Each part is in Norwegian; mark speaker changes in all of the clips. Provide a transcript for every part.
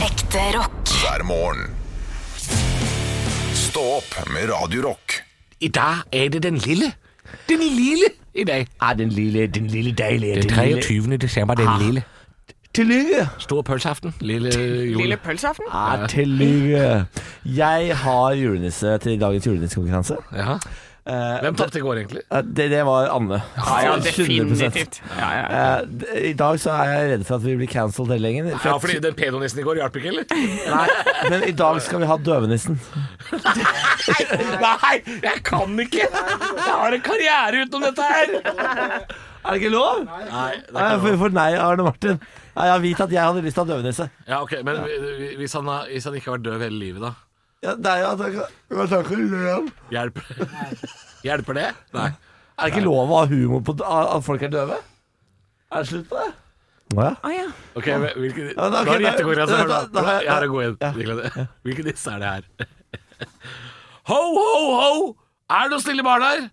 Speaker 1: Ekte rock.
Speaker 2: hver morgen. Stå opp med Radio Rock.
Speaker 3: I dag er det den lille. Den lille i dag.
Speaker 4: Ah, den lille, den lille deilige.
Speaker 3: Den
Speaker 4: den
Speaker 3: 23. desember, den
Speaker 4: Ah.
Speaker 3: lille.
Speaker 4: Lille. Tillykke.
Speaker 3: Stor pølseaften. Lille jul.
Speaker 5: Lille pølseaften?
Speaker 4: Ah, tillykke. Jeg har julenisse til dagens julenissekonkurranse.
Speaker 3: Ja.
Speaker 4: Eh,
Speaker 3: Hvem tapte i går, egentlig?
Speaker 4: eh, det, det var Anne.
Speaker 5: Ja,
Speaker 4: 100%.
Speaker 5: definitivt. Ja, ja.
Speaker 4: Eh, d- I dag så er jeg redd for at vi blir cancelled hele gjengen. For
Speaker 3: Ja,
Speaker 4: at-
Speaker 3: fordi den pedonissen i går hjalp ikke, eller?
Speaker 4: Nei, men i dag skal vi ha døvenissen.
Speaker 3: Nei, jeg kan ikke! Jeg har en karriere utenom dette her!
Speaker 4: Er det ikke lov?
Speaker 3: Nei, det
Speaker 4: Nei,
Speaker 3: kan
Speaker 4: for,
Speaker 3: jeg.
Speaker 4: for nei, Arne Martin. Nei, jeg har vist at jeg hadde lyst til å ha døvenisse.
Speaker 3: Ja, ok, Men hvi- hvis han, har- hvis han ikke har vært døv hele livet, da?
Speaker 4: Ja, det er jo at jeg kan- jeg kan ikke gjøre det igjen.
Speaker 3: Hjelper, Hjelper det? Nei.
Speaker 4: Er det ikke lov å ha humor på at at folk er døve? Er det slutt på det? Å ja.
Speaker 5: Å, ja.
Speaker 3: Ok, men hvilken
Speaker 4: Ja, da- ok,
Speaker 3: Nå er det
Speaker 4: da-
Speaker 3: gjettekonkurranse.
Speaker 4: da-
Speaker 3: hør
Speaker 4: da- da
Speaker 3: nå.
Speaker 4: har jeg-
Speaker 3: Jeg har en god
Speaker 4: ja.
Speaker 3: en. Niklas. Hvilken nisse er det her? Ho, ho, ho! Er det noen snille barn her?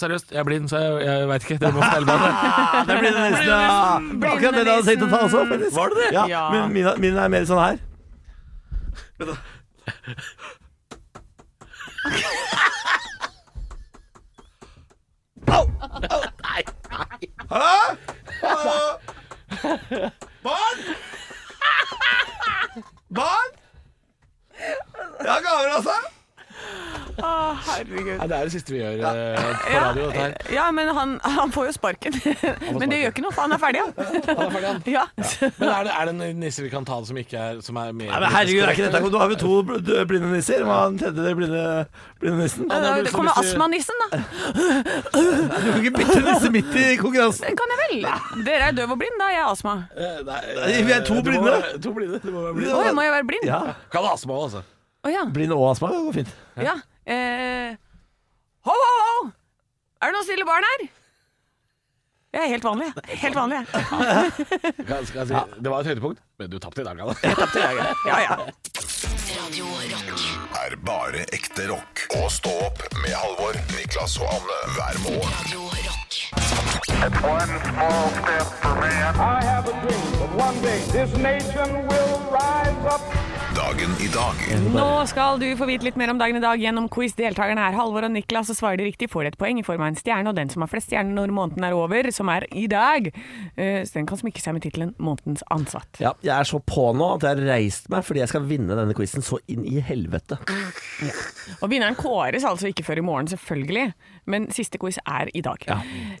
Speaker 3: Seriøst, jeg er blind, så jeg, jeg veit ikke. Dere må fortelle meg om det.
Speaker 4: Ja, det blir det nesten, ja. Akkurat det jeg hadde tenkt å ta også. faktisk.
Speaker 3: Var det det?
Speaker 4: Ja,
Speaker 5: Ja.
Speaker 4: Men min, min er mer sånn her. Barn! Jeg har gaver, altså.
Speaker 5: Å, herregud.
Speaker 3: Ja, det er det siste vi gjør eh, på radio. Dette her.
Speaker 5: Ja, men han, han får jo sparken. Men det gjør ikke noe, for han er ferdig, han.
Speaker 3: Han er ferdig, han.
Speaker 5: Ja.
Speaker 3: Men er det, er det en nisse vi kan ta som ikke er Som er mer
Speaker 4: Nei, men herregud, er ikke dette Nå har vi to bl- døde blinde nisser. Hva er den tredje blinde, blinde nissen?
Speaker 3: det er du
Speaker 5: Det
Speaker 3: som
Speaker 5: kommer
Speaker 3: hvis du-
Speaker 5: astmanissen, da.
Speaker 4: Du kan ikke bytte nisse midt i konkurransen.
Speaker 5: Det kan jeg vel. Dere er døv og blind, da. Jeg er astma.
Speaker 3: Eh, nei,
Speaker 4: Nei, vi er to
Speaker 3: eh, du må
Speaker 4: blinde.
Speaker 3: være- To blinde. Du må være blind.
Speaker 5: Å, må jeg være blind?
Speaker 4: Ja,
Speaker 3: Kan ha astma også, altså.
Speaker 5: Å ja.
Speaker 4: Blind og astma det går fint.
Speaker 5: ja. Eh, ho, ho, ho! Er det noen snille barn her? Jeg er helt vanlig, jeg. Helt vanlig, jeg.
Speaker 3: Kan, skal jeg si, Det var et høydepunkt, men du tapte i dag, Anna.
Speaker 5: Ja, ja.
Speaker 1: Radio Rock.
Speaker 2: Er bare ekte rock. Og stå opp med Halvor, Niklas og Anne hver morgen.
Speaker 1: Radio Rock.
Speaker 6: One small step for man.
Speaker 7: I have a dream that one day this nation will rise up.
Speaker 2: Dagen i dag
Speaker 5: Nå skal du få vite litt mer om dagen i dag gjennom quiz. Deltakerne er Halvor og Niklas, og svarer de riktig får de et poeng i form av en stjerne. Og den som har flest stjerner når måneden er over, som er i dag, eh, så den kan smykke seg med tittelen 'Månedens ansatt'.
Speaker 4: Ja, jeg er så på nå at jeg har reist meg fordi jeg skal vinne denne quizen så inn i helvete.
Speaker 5: Og vinneren kåres altså ikke før i morgen, selvfølgelig, men siste quiz er i dag.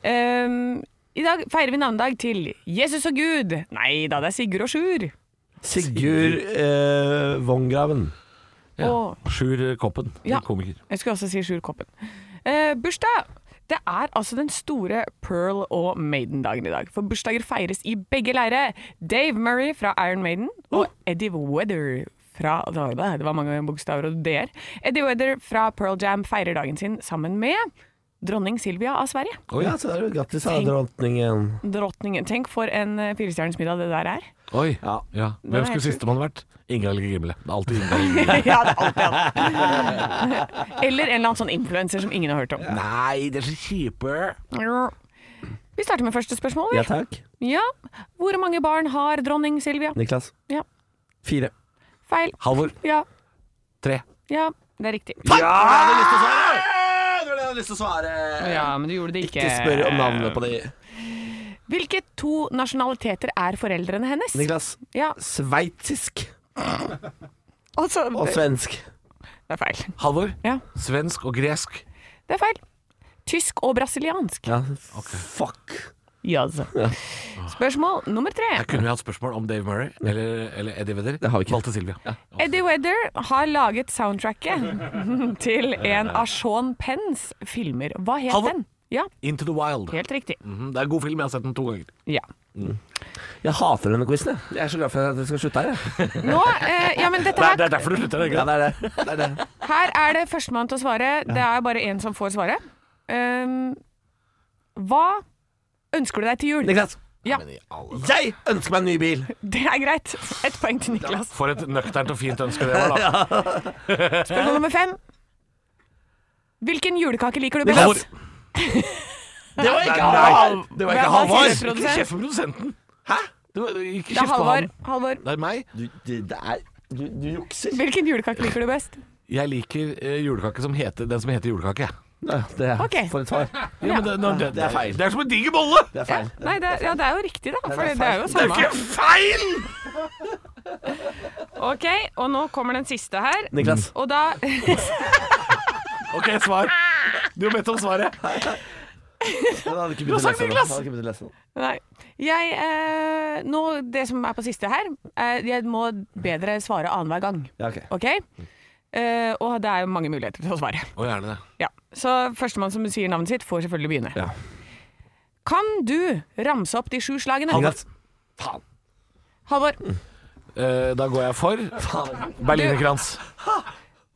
Speaker 5: Ehm, I dag feirer vi navnedag til Jesus og Gud. Nei da, det er Sigurd og Sjur.
Speaker 4: Sigurd eh, Vongraven.
Speaker 5: Og
Speaker 3: Sjur Koppen,
Speaker 5: Ja.
Speaker 3: komiker.
Speaker 5: Jeg skulle også si Sjur Koppen. Eh, bursdag! Det er altså den store Pearl og Maiden-dagen i dag. For bursdager feires i begge leire. Dave Murray fra Iron Maiden og Eddie Weather fra Det var mange bokstaver og d-er. Eddie Weather fra Pearl Jam feirer dagen sin sammen med dronning Silvia av Sverige.
Speaker 4: Å ja, så der er det grattis, da,
Speaker 5: Tenk.
Speaker 4: dronningen.
Speaker 5: Dronningen. Tenk for en eh, firestjerners middag det der er.
Speaker 3: Oi.
Speaker 4: Ja.
Speaker 3: Ja.
Speaker 5: Den
Speaker 3: Hvem skulle
Speaker 5: er helt sjuk.
Speaker 3: sistemann vært? Ingalill Gimle. Det er alltid Ingalill Gimle.
Speaker 5: ja, det er alt det er. Eller en eller annen sånn influenser som ingen har hørt om.
Speaker 3: Nei, det er så kjipe.
Speaker 5: Vi starter med første spørsmål. vi.
Speaker 4: Ja takk.
Speaker 5: Ja. Hvor mange barn har dronning Silvia?
Speaker 4: Niklas.
Speaker 5: Ja.
Speaker 4: Fire.
Speaker 5: Feil.
Speaker 3: Halvor.
Speaker 5: Ja.
Speaker 3: Tre.
Speaker 5: Ja, det er riktig.
Speaker 4: Det var det jeg hadde lyst til å svare!
Speaker 5: Ja, men du gjorde det ikke.
Speaker 4: Ikke spør om navnet på de.
Speaker 5: Hvilke to nasjonaliteter er foreldrene hennes?
Speaker 4: Niklas.
Speaker 5: Ja,
Speaker 4: Sveitsisk
Speaker 5: altså
Speaker 4: og
Speaker 5: Det
Speaker 4: svensk.
Speaker 5: er feil.
Speaker 3: Halvor.
Speaker 5: Ja,
Speaker 3: Svensk og gresk.
Speaker 5: det er feil. Tysk og brasiliansk.
Speaker 4: Ja, fuck.
Speaker 5: Ja, altså. Spørsmål nummer tre.
Speaker 3: Her kunne vi hatt spørsmål om Dave Murray eller, eller Eddie Vedder.
Speaker 4: Det har vi ikke.
Speaker 3: Valgte Silvia.
Speaker 5: Eddie Weather har laget soundtracket til en av Sean Penns filmer. Hva het
Speaker 3: Halvor.
Speaker 5: den? Ja,
Speaker 3: Into the Wild.
Speaker 5: helt riktig.
Speaker 3: Mhm, Det er en god film. Jeg har sett den to ganger.
Speaker 5: Ja.
Speaker 4: Jeg hater denne quizen, jeg. Jeg er så glad for at dere skal slutte her, jeg.
Speaker 5: Nå, eh, ja, men dette
Speaker 3: Det er,
Speaker 5: her
Speaker 3: det er derfor du slutter. er det
Speaker 4: Ja,
Speaker 3: Ikke?
Speaker 4: det er det. det, er det.
Speaker 5: Her er det førstemann til å svare. Det er bare én som får svare. Um, hva ønsker du deg til jul?
Speaker 4: Niklas.
Speaker 5: Ja,
Speaker 3: Men i alle
Speaker 4: Jeg ønsker meg en ny bil.
Speaker 5: det er greit. Ett poeng til Niklas.
Speaker 3: For et nøkternt og fint ønske det var, da.
Speaker 5: Spørsmål nummer fem. Hvilken julekake liker du
Speaker 4: Niklas.
Speaker 5: best?
Speaker 4: Det var ikke
Speaker 3: Nei.
Speaker 4: Halvor. Det var
Speaker 5: Hvem
Speaker 4: ikke
Speaker 5: var
Speaker 4: Halvor.
Speaker 5: kjeft? Produsent.
Speaker 3: Ikke kjeft på produsenten. Hæ? Det var, ikke
Speaker 5: Det er
Speaker 3: kjeft på
Speaker 5: Halvor.
Speaker 3: han.
Speaker 5: Halvor.
Speaker 3: Det er meg.
Speaker 4: Du, det, det er Du, du jukser.
Speaker 5: Hvilken julekake liker du best?
Speaker 3: Jeg liker eh, julekake som heter, den som heter julekake.
Speaker 4: Ja, det er
Speaker 5: Ok.
Speaker 4: for et svar.
Speaker 3: Ja, men det, nå- det,
Speaker 4: det er feil.
Speaker 3: Det er som en diger bolle!
Speaker 4: Det er
Speaker 5: Ja,
Speaker 4: feil.
Speaker 5: nei, det, er- ja, det er jo riktig, da. For
Speaker 4: det er
Speaker 5: det er jo
Speaker 3: Det er
Speaker 5: samme.
Speaker 3: ikke feil!
Speaker 5: Ok, og nå kommer den siste her.
Speaker 4: Niklas.
Speaker 5: Og da
Speaker 3: OK, svar. Du har bedt om svaret.
Speaker 4: Jeg hadde ikke
Speaker 3: Du har
Speaker 4: begynt å
Speaker 3: sagt
Speaker 4: lese nå.
Speaker 3: Niklas!
Speaker 4: Jeg hadde ikke begynt å lese nå.
Speaker 5: Nei. Jeg eh, Nå, det som er på siste her eh, Jeg må bedre svare annenhver gang.
Speaker 4: Ja, ok.
Speaker 5: OK? Eh, og det er jo mange muligheter til å svare.
Speaker 3: Å, gjerne det.
Speaker 5: Ja. Så førstemann som sier navnet sitt, får selvfølgelig begynne. Kan du ramse opp de sju slagene?
Speaker 4: Niklas.
Speaker 5: Halvor.
Speaker 3: Eh, da går jeg for berlinerkrans.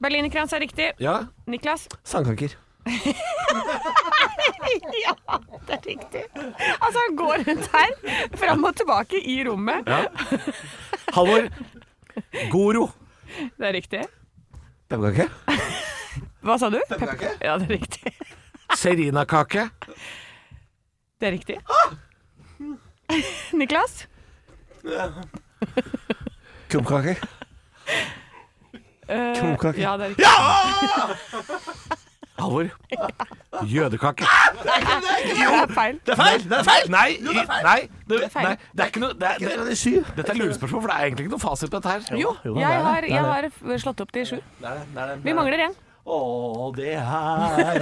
Speaker 5: Berlinerkrans er riktig.
Speaker 3: Ja?
Speaker 5: Niklas.
Speaker 4: Sandkanker.
Speaker 5: Ja, det er riktig. Altså, han går rundt her, fram og tilbake i rommet.
Speaker 3: Halvor. Goro.
Speaker 5: Det er riktig.
Speaker 4: Pepperkake.
Speaker 5: Hva sa du? Pepperkake? Ja, det er riktig.
Speaker 3: Serinakake.
Speaker 5: Det er riktig. Niklas?
Speaker 4: Krumpkake.
Speaker 5: Eh,
Speaker 4: Krumkake.
Speaker 5: Ja, det er riktig.
Speaker 3: Halvor. Jødekake.
Speaker 5: Det er feil.
Speaker 3: Det er feil! Det er feil! Nei, i- nei, det,
Speaker 5: er feil.
Speaker 3: nei, det er ikke noe det, er-
Speaker 4: Det
Speaker 3: det,
Speaker 4: er de syv.
Speaker 3: Dette er lurespørsmål, for det er egentlig ikke noe fasit på dette her.
Speaker 5: Jo,
Speaker 4: jo, det er
Speaker 5: jeg
Speaker 4: det.
Speaker 5: har,
Speaker 4: Det er
Speaker 5: jeg har f- slått opp de sju. Vi mangler en.
Speaker 4: Å, det her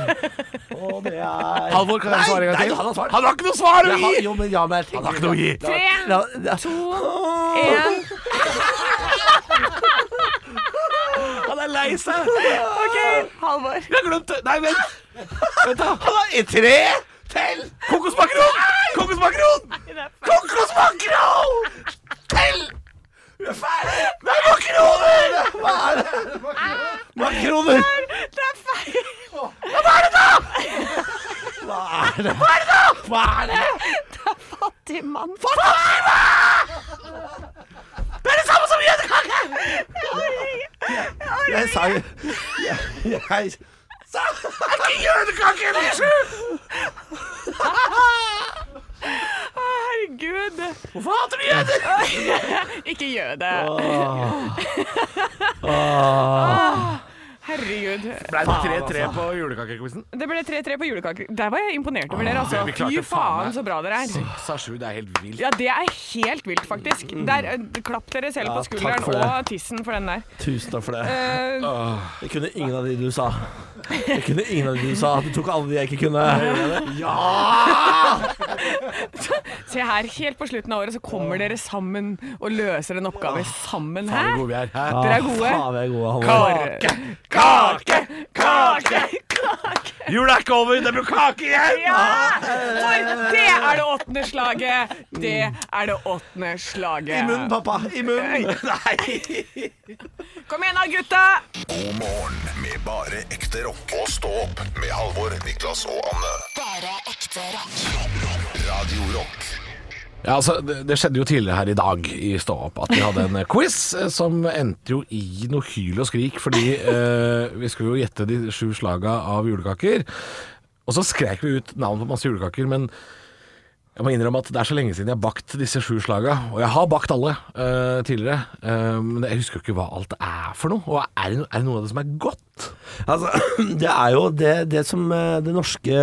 Speaker 4: Å, det her
Speaker 3: Halvor, kan jeg svare en gang
Speaker 4: Nei,
Speaker 3: til?
Speaker 4: han har svart.
Speaker 3: Han har ikke noe svar å
Speaker 4: Jeg har-
Speaker 3: gi!
Speaker 4: Jo, men ja, men jeg
Speaker 3: Han har
Speaker 4: tenker-
Speaker 3: ikke noe å gi.
Speaker 5: Tre,
Speaker 4: Ja, det er-
Speaker 5: to, én.
Speaker 3: Han er lei seg.
Speaker 5: OK, Halvor.
Speaker 3: Jeg har glemt det. Nei, vent. vent da. Han har tre til. Kokosmakron! Kokosmakron! Kokosmakron! Til! Du er ferdig. Det er makroner! Hva er det?
Speaker 4: Makroner!
Speaker 5: Det er feil.
Speaker 3: Hva er det?
Speaker 5: Fattig mann.
Speaker 3: Det er det samme som jødekake!
Speaker 4: Jeg sa jo jeg, jeg,
Speaker 3: Det er ikke jødekake, det er sju!
Speaker 5: Herregud.
Speaker 3: Hvorfor hater du jøder?
Speaker 5: Ikke gjør det.
Speaker 3: Ah.
Speaker 5: Herregud.
Speaker 3: Ble det 3-3 på julekakequizen?
Speaker 5: Det ble 3-3 på julekaker. Der var jeg imponert over dere. altså.
Speaker 3: Ah. vi klarte
Speaker 5: Fy
Speaker 3: faen meg.
Speaker 5: faen, så bra dere er.
Speaker 3: 6 av 7, det er helt vilt.
Speaker 5: Ja, det er helt vilt, faktisk.
Speaker 3: Mm.
Speaker 5: Der, eh, klapp dere selv på
Speaker 4: takk
Speaker 5: skulderen
Speaker 4: for det.
Speaker 5: og tissen for den der.
Speaker 4: Tusen takk for det.
Speaker 5: Eh,
Speaker 3: Ah.
Speaker 4: Jeg kunne ingen av de du sa. Jeg kunne ingen av de du sa. Du tok alle de jeg ikke kunne.
Speaker 3: Ah!
Speaker 5: se her, helt på slutten av året så kommer dere sammen og løser en oppgave sammen.
Speaker 3: Ah. Faen,
Speaker 5: Hæ?
Speaker 3: hvor gode vi Ah, er. Hæ?
Speaker 5: Dere er gode.
Speaker 4: Ah, Faen, vi er gode. Halvor.
Speaker 5: Kake!
Speaker 3: Kake! Kake!
Speaker 5: Kake!
Speaker 3: Jula er ikke over, det blir kake igjen!
Speaker 5: Ja! For det er det åttende slaget! Det er det åttende slaget.
Speaker 4: I munnen, pappa. I munnen.
Speaker 5: Kom igjen da, gutta!
Speaker 2: God morgen med bare ekte rock. Og stå opp med Halvor, Niklas og Anne.
Speaker 1: Bare ekte rock.
Speaker 2: Radio Rock.
Speaker 3: Ja, altså, det, det skjedde jo tidligere her i dag i Stå opp at vi hadde en eh, quiz eh, som endte jo i noe hyl og skrik, fordi eh, vi skulle jo gjette de sju slaga av julekaker. Og så skrek vi ut navn på masse julekaker, men jeg må innrømme at det er så lenge siden jeg har bakt disse sju slaga. Og jeg har bakt alle eh, tidligere, eh, men jeg husker jo ikke hva alt er for noe. Og er det, er det noe av det som er godt?
Speaker 4: Altså, det er jo det, det som eh, det norske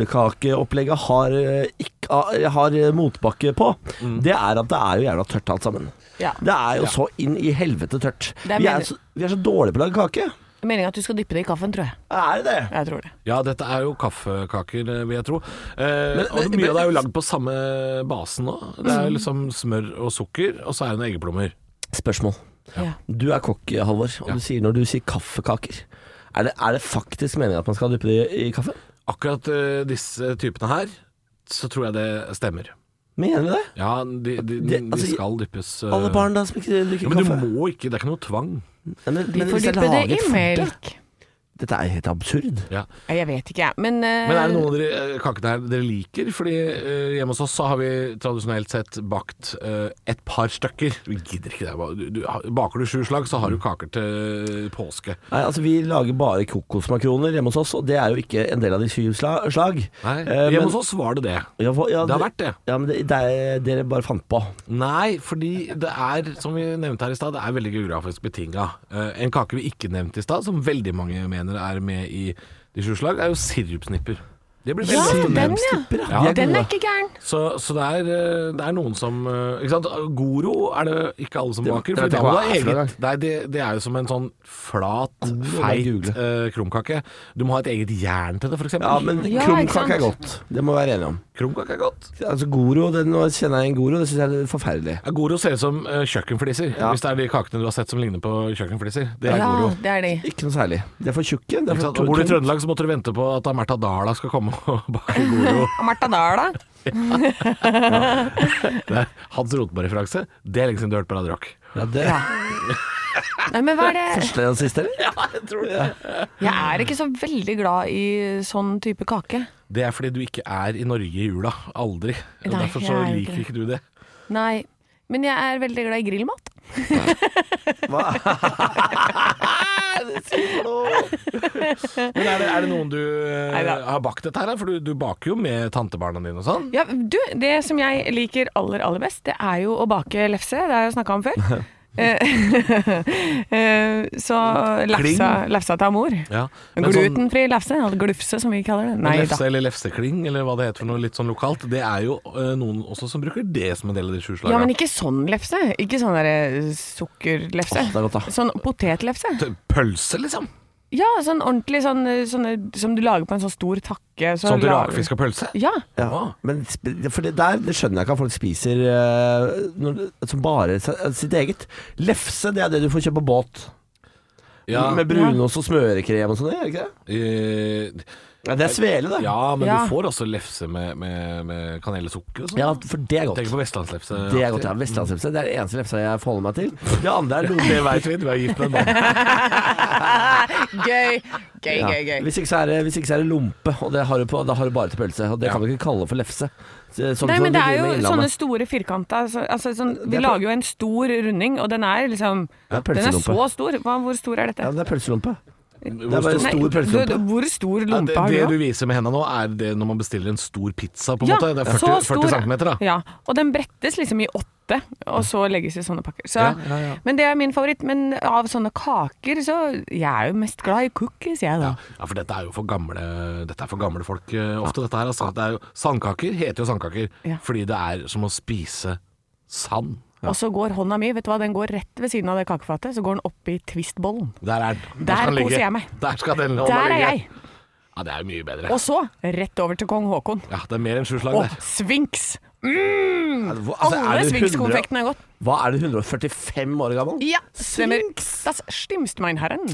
Speaker 4: julekakeopplegget har, eh, ikke, har- har eh, motbakke på. Det er at det er jo jævla tørt alt sammen.
Speaker 5: Mm. Ja.
Speaker 4: Det er jo så inn i helvete tørt.
Speaker 5: er
Speaker 4: Vi er,
Speaker 5: meningen-
Speaker 4: så, vi er så dårlige på å lage kake.
Speaker 5: Meningen at du skal dyppe det i kaffen, tror jeg.
Speaker 4: Er det det?
Speaker 5: Jeg tror det.
Speaker 3: Ja, dette er jo kaffekaker, eh, vil jeg tro. Eh,
Speaker 4: Men-
Speaker 3: og
Speaker 4: men- Mhm.
Speaker 3: mye av det er jo lagd på samme basen nå. Det er jo liksom smør og sukker, og så er det noen eggeplommer.
Speaker 4: Spørsmål.
Speaker 5: Ja.
Speaker 4: Du er kokk, Halvor, og du sier når du sier kaffekaker er det, er det faktisk meningen at man skal dyppe det i, i kaffe?
Speaker 3: Akkurat eh, disse typene her, så tror jeg det stemmer.
Speaker 4: Mener du det?
Speaker 3: Ja, de, de, de,
Speaker 4: Det- altså,
Speaker 3: skal dyppes eh,
Speaker 4: Alle barn da som ikke
Speaker 3: ja,
Speaker 4: drikker
Speaker 3: Men du
Speaker 4: kaffe?
Speaker 3: må ikke, det er ikke noe tvang.
Speaker 4: Ja, men-
Speaker 5: Vi
Speaker 4: men
Speaker 5: får
Speaker 4: hvis dere
Speaker 5: dyppe det
Speaker 4: lager
Speaker 5: i
Speaker 4: fort, da.
Speaker 5: melk.
Speaker 4: Dette er jo helt absurd.
Speaker 3: Ja.
Speaker 5: Nei, Jeg vet ikke, jeg. Men, eh,
Speaker 3: Men er det noen av dere eh, kakene her dere liker? Fordi eh, hjemme hos oss så har vi tradisjonelt sett bakt eh, et par stykker. Vi gidder ikke det. bare- Du, du, ha- baker du sju slag, så har du kaker til påske.
Speaker 4: Nei, altså Vi lager bare kokosmakroner hjemme hos oss, og det er jo ikke en del av de syv sla- slag.
Speaker 3: Nei,
Speaker 4: Eh,
Speaker 3: Hjemme
Speaker 4: men-
Speaker 3: hos oss var det det.
Speaker 4: Ja, hva- ja,
Speaker 3: Det har vært det.
Speaker 4: Ja, men det, det er, dere bare fant på.
Speaker 3: Nei, fordi det er, som vi nevnte her i stad, det er veldig geografisk betinga. Eh, En kake vi ikke nevnte i stad, som veldig mange mener er med i de sju slag, er jo sirupsnipper. Det blir
Speaker 5: Ja,
Speaker 3: veldig ofte
Speaker 5: den,
Speaker 3: nevnt.
Speaker 4: Ja,
Speaker 5: ja.
Speaker 4: de er
Speaker 5: Den
Speaker 4: gode.
Speaker 5: er ikke gæren.
Speaker 3: Så, så det, er, eh, det er noen som eh, Ikke sant, Goro er det ikke alle som
Speaker 4: Det-
Speaker 3: baker.
Speaker 4: det vet
Speaker 3: For
Speaker 4: jeg
Speaker 3: Goro
Speaker 4: hva
Speaker 3: er
Speaker 4: er for
Speaker 3: eget Nei, det, det er jo som en sånn flat,
Speaker 4: må jeg
Speaker 3: feit
Speaker 4: google.
Speaker 3: uh, krumkake. Du må ha et eget jern til det, f.eks.
Speaker 4: Ja, men
Speaker 5: Ja, ikke sant?
Speaker 4: krumkake er godt. Det må vi være enige om.
Speaker 3: Krumkake er godt.
Speaker 4: Altså Goro, den, Nå kjenner jeg en Goro, det syns jeg er forferdelig.
Speaker 3: Ja, Goro ser ut som eh, kjøkkenfliser.
Speaker 4: Ja.
Speaker 3: Hvis det er de kakene du har sett som ligner på kjøkkenfliser. Det er
Speaker 5: Ja,
Speaker 3: Goro.
Speaker 5: det er de.
Speaker 4: Ikke noe særlig. De er for tjukke. De er
Speaker 3: Ikke
Speaker 4: for
Speaker 3: sant? Og Bor du i
Speaker 4: tunge.
Speaker 3: Trøndelag, så måtte du vente på at Märtha Dala skal komme og bake Goro.
Speaker 5: Og Martha Dahl, da?
Speaker 3: Det er Hans Rotmo-referanse. Det er lenge siden du har hørt på Radio Rock.
Speaker 4: Ja, det
Speaker 5: Nei, men hva er det?
Speaker 4: Første og siste, eller? Ja, jeg tror det.
Speaker 5: Jeg er ikke så veldig glad i sånn type kake.
Speaker 3: Det er fordi du ikke er i Norge i jula. Aldri. Og
Speaker 5: Nei,
Speaker 3: Derfor så
Speaker 5: jeg er ikke
Speaker 3: liker
Speaker 5: det.
Speaker 3: ikke du det.
Speaker 5: Nei. Men jeg er veldig glad i grillmat.
Speaker 3: Men er det, er det noen du eh,
Speaker 5: Neida.
Speaker 3: har bakt dette her, da? For du, du baker jo med tantebarna dine og sånn.
Speaker 5: Ja, du, det som jeg liker aller, aller best, det er jo å bake lefse. Det har jeg snakka om før. Eh, eh, så lefsa, lefsa til amor.
Speaker 3: Ja, men sånn-
Speaker 5: Glutenfri lefse. eller Glufse, som vi kaller det. Nei
Speaker 3: lefse
Speaker 5: da.
Speaker 3: eller lefsekling, eller hva det heter for noe litt sånn lokalt. Det er jo eh, noen også som bruker det som en del av de sju
Speaker 5: Ja, men
Speaker 3: slagene.
Speaker 5: ikke sånn lefse. Ikke sånn derre sukkerlefse.
Speaker 4: Åh, det er godt, da.
Speaker 5: Sånn potetlefse.
Speaker 3: T- Pølse, liksom.
Speaker 5: Ja, sånn ordentlig sånn sånne, som du lager på en sånn stor takke. så
Speaker 3: Sånn til
Speaker 5: lager-
Speaker 3: rakfisk og pølse.
Speaker 5: Ja.
Speaker 4: Ja. Men sp- for det der det skjønner jeg ikke at folk spiser eh, når, som bare s- sitt eget. Lefse, det er det du får kjøpe på båt.
Speaker 3: Ja,
Speaker 4: Med brunost og smørekrem og sånn, er det ikke det?
Speaker 3: eh,
Speaker 4: Ja, det er svele, det.
Speaker 3: ja men
Speaker 5: Ja.
Speaker 3: du får også lefse med, med, med kanel og sukker og sånn.
Speaker 4: Ja, for det er godt.
Speaker 3: Tenker på vestlandslefse.
Speaker 4: Det er godt, ja. Vestlandslefse. Det er den eneste lefsa jeg forholder meg til. Det andre er lomme...
Speaker 3: Det veit vi, du er gift med en mann.
Speaker 5: Gøy, gøy,
Speaker 4: Ja.
Speaker 5: gøy. gøy.
Speaker 4: Hvis, ikke så er det, hvis ikke så er det lompe, og det har du, på, da har du bare til pølse. Og det
Speaker 3: Ja.
Speaker 4: kan vi ikke kalle for lefse. Så- Sånn
Speaker 5: Nei,
Speaker 4: som
Speaker 5: men det er
Speaker 4: driver
Speaker 5: jo
Speaker 4: med
Speaker 5: sånne
Speaker 4: Innlandet.
Speaker 5: store firkanta så, altså, sånn,
Speaker 4: Det
Speaker 5: Vi
Speaker 4: er-
Speaker 5: lager jo en stor runding, og den er liksom
Speaker 4: Ja,
Speaker 5: Den er
Speaker 4: pølselompe.
Speaker 5: så stor. Hva, hvor stor er dette?
Speaker 4: Ja, men det er pølselompe. Det
Speaker 3: Hvor
Speaker 4: er bare
Speaker 3: stor-
Speaker 4: en stor
Speaker 5: du,
Speaker 4: pølselompe.
Speaker 5: hvor stor
Speaker 3: Ja,
Speaker 5: lompe
Speaker 3: det,
Speaker 5: har
Speaker 3: det du
Speaker 5: du?
Speaker 3: viser med henda nå, er det når man bestiller en stor pizza, på en
Speaker 5: Ja,
Speaker 3: måte. Det er
Speaker 5: så
Speaker 3: 40,
Speaker 5: stor-
Speaker 3: 40 cm, da.
Speaker 5: Ja, og den brettes liksom i åtte, og så legges i sånne pakker. Så,
Speaker 3: Ja, ja, ja.
Speaker 5: Men det er min favoritt. Men av sånne kaker, så Jeg er jo mest glad i cookies, jeg, da.
Speaker 3: Ja, for dette er jo for gamle, dette er for gamle folk eh, ofte, dette her. Altså. Det er jo, sandkaker heter jo sandkaker
Speaker 5: Ja.
Speaker 3: fordi det er som å spise sand.
Speaker 5: Og så går hånda mi, vet du hva, den går rett ved siden av det kakefatet, så går den oppi twistbollen.
Speaker 3: Der er den.
Speaker 5: Der
Speaker 3: skal den ligge.
Speaker 5: koser jeg meg.
Speaker 3: Der skal den hånda
Speaker 5: Der er
Speaker 3: ligge.
Speaker 5: jeg!
Speaker 3: Ja, det er jo mye bedre.
Speaker 5: Og så rett over til kong Haakon.
Speaker 3: Ja, det er mer enn sju slag
Speaker 5: Og
Speaker 3: der.
Speaker 5: Svinks!
Speaker 4: Hvor- altså, er
Speaker 5: Mm. Alle
Speaker 4: det 100
Speaker 5: Svinks-konfekten er godt.
Speaker 4: Hva er du, 145 år gammel?
Speaker 5: Ja, stemmer. Das stimmt, mein Herren.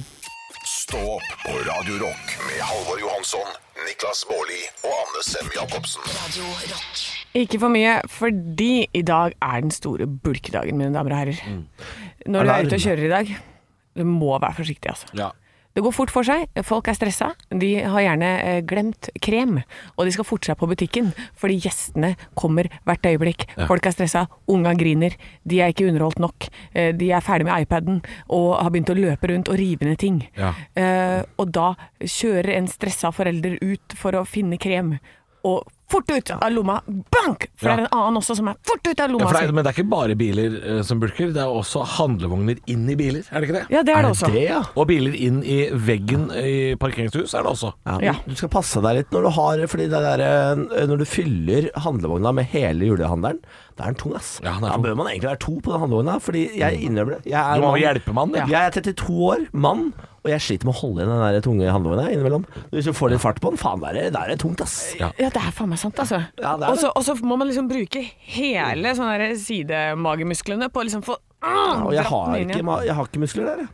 Speaker 2: Stå opp på Radio Rock med Halvor Johansson, Niklas Baarli og Anne Sem Jacobsen.
Speaker 1: Radio Rock.
Speaker 5: Ikke for mye, fordi i dag er den store bulkedagen, mine damer og herrer.
Speaker 3: Mm.
Speaker 5: Når du er
Speaker 4: Alarm.
Speaker 5: ute og kjører i dag, du må være forsiktig, altså.
Speaker 3: Ja.
Speaker 5: Det går fort for seg, folk er stressa, de har gjerne eh, glemt krem, og de skal forte seg på butikken, fordi gjestene kommer hvert øyeblikk. Folk er stressa, unga griner, de er ikke underholdt nok, eh, de er ferdig med iPaden og har begynt å løpe rundt og rive ned ting.
Speaker 3: Ja.
Speaker 5: Eh, og da kjører en stressa forelder ut for å finne krem, og fort ut av lomma, bank! For
Speaker 3: Ja.
Speaker 5: det er en annen også som er fort ut av
Speaker 3: Ja,
Speaker 5: lomma
Speaker 3: for det er,
Speaker 5: si.
Speaker 3: men det er ikke bare biler eh, som bulker, det er også handlevogner inn i biler, er det ikke det?
Speaker 5: Ja, det er det også.
Speaker 4: Det, ja.
Speaker 3: Og biler inn i veggen i parkeringshus er det også.
Speaker 4: Ja,
Speaker 5: Ja.
Speaker 4: Du skal passe deg litt når du har Fordi det der, eh, når du fyller handlevogna med hele julehandelen, da er den tung, ass.
Speaker 3: Ja, den er
Speaker 4: da
Speaker 3: tung. Mm.
Speaker 4: bør man egentlig være to på den handlevogna, fordi jeg innrømmer det. Jeg er
Speaker 3: Du må
Speaker 4: mann.
Speaker 3: jo hjelpe mannen, ja.
Speaker 4: Jeg er 32 år, mann, og jeg sliter med å holde igjen den der tunge handlevogna innimellom. Hvis du får litt fart på den, faen, da er det- da er det tungt, ass.
Speaker 3: Ja.
Speaker 5: Ja, det er faen meg sant, altså.
Speaker 4: Ja, det er det.
Speaker 5: Og så- og så må man liksom bruke hele sånne her sånn sidemagemusklene på å liksom få
Speaker 4: Og jeg
Speaker 5: dratt
Speaker 4: har,
Speaker 5: den inn
Speaker 4: ikke,
Speaker 5: igjen.
Speaker 4: ma- jeg har ikke muskler der, jeg.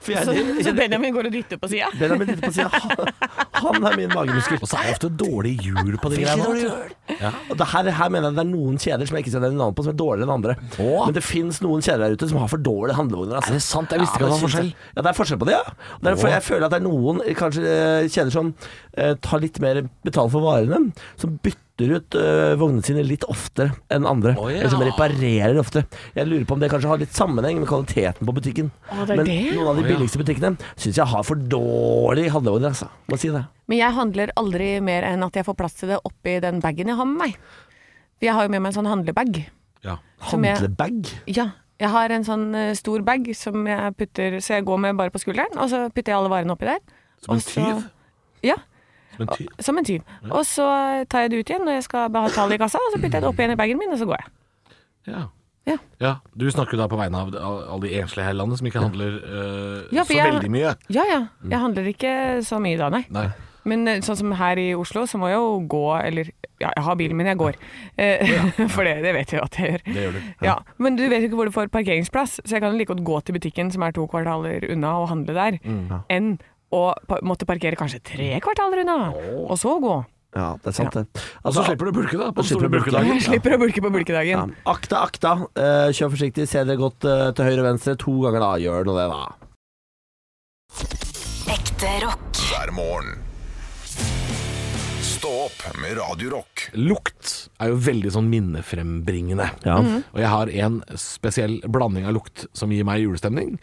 Speaker 4: For jeg,
Speaker 5: Så,
Speaker 4: jeg,
Speaker 5: så Benjamin går og dytter på sida?
Speaker 4: Benjamin sitter på siden. Han- Han er min magemuskel.
Speaker 3: Og så er det ofte dårlig hjul på de
Speaker 4: Veldig
Speaker 3: greiene.
Speaker 4: dårlig
Speaker 3: vet du.
Speaker 4: Og det her, her mener jeg det er noen kjeder som jeg ikke skal nevne navn på, som er dårligere enn andre.
Speaker 3: Å.
Speaker 4: Men det fins noen kjeder der ute som har for dårlige handlevogner. Altså.
Speaker 3: Er det sant? Jeg visste ikke at det var
Speaker 4: men synes
Speaker 3: forskjell.
Speaker 4: jeg- Ja, det er forskjell på det, ja. Og det er,
Speaker 3: Å.
Speaker 4: for jeg føler at det er noen eh, kanskje eh, kjeder som eh, tar litt mer betalt for varene, som bytter ut eh, vognene sine litt oftere enn andre.
Speaker 3: Å, ja.
Speaker 4: Eller som reparerer ofte. Jeg lurer på om det kanskje har litt sammenheng med kvaliteten på butikken.
Speaker 5: Å, det er
Speaker 4: Men
Speaker 5: det?
Speaker 4: noen av de
Speaker 3: Å, ja.
Speaker 4: billigste butikkene syns jeg har for dårlige handlevogner, altså. Må si det.
Speaker 5: Men jeg handler aldri mer enn at jeg får plass til det oppi den bagen jeg har med meg. For jeg har jo med meg en sånn handlebag.
Speaker 3: Ja.
Speaker 5: Som jeg-
Speaker 4: Handlebag.
Speaker 5: Ja. Jeg har en sånn eh, stor bag som jeg putter Så jeg går med bare på skulderen, og så putter jeg alle varene oppi der.
Speaker 3: Som en
Speaker 5: Og så-
Speaker 3: tyv?
Speaker 5: Ja,
Speaker 3: Som en tyv.
Speaker 5: som en tyv. Og så tar jeg det ut igjen når jeg skal betale i kassa, og så putter jeg det opp igjen i bagen min, og så går jeg.
Speaker 3: Ja.
Speaker 5: Ja.
Speaker 3: Ja, Du snakker jo da på vegne av alle de enslige her i landet som ikke handler eh,
Speaker 5: Ja, for
Speaker 3: så
Speaker 5: jeg-
Speaker 3: veldig mye.
Speaker 5: Ja ja. Jeg handler ikke så mye da, nei.
Speaker 3: Nei.
Speaker 5: Men eh, sånn som her i Oslo, så må jeg jo gå, eller ja, jeg har bilen min, jeg går. Eh, For det, det vet jeg jo at jeg gjør.
Speaker 3: Det gjør du, ja.
Speaker 5: Ja. Men du vet jo ikke hvor du får parkeringsplass, så jeg kan jo like godt gå til butikken som er to kvartaler unna og handle der, enn å pa måtte parkere kanskje tre kvartaler unna, og så gå.
Speaker 4: Ja, det er sant, det.
Speaker 3: Og
Speaker 4: Altså,
Speaker 3: så slipper du bulke, da. På den
Speaker 4: slipper
Speaker 3: store
Speaker 4: du bulke, da.
Speaker 3: bulkedagen.
Speaker 5: Jeg slipper å bulke
Speaker 4: Ja.
Speaker 5: på bulkedagen.
Speaker 4: Akta, akta. Eh, kjør forsiktig. Se dere godt eh, til høyre og venstre to ganger, da. Gjør nå det, da.
Speaker 1: Ekte rock.
Speaker 2: hver morgen. Stå opp med Radio Rock.
Speaker 3: Lukt er jo veldig sånn minnefrembringende.
Speaker 5: Mhm.
Speaker 3: Og jeg har en spesiell blanding av lukt som gir meg julestemning.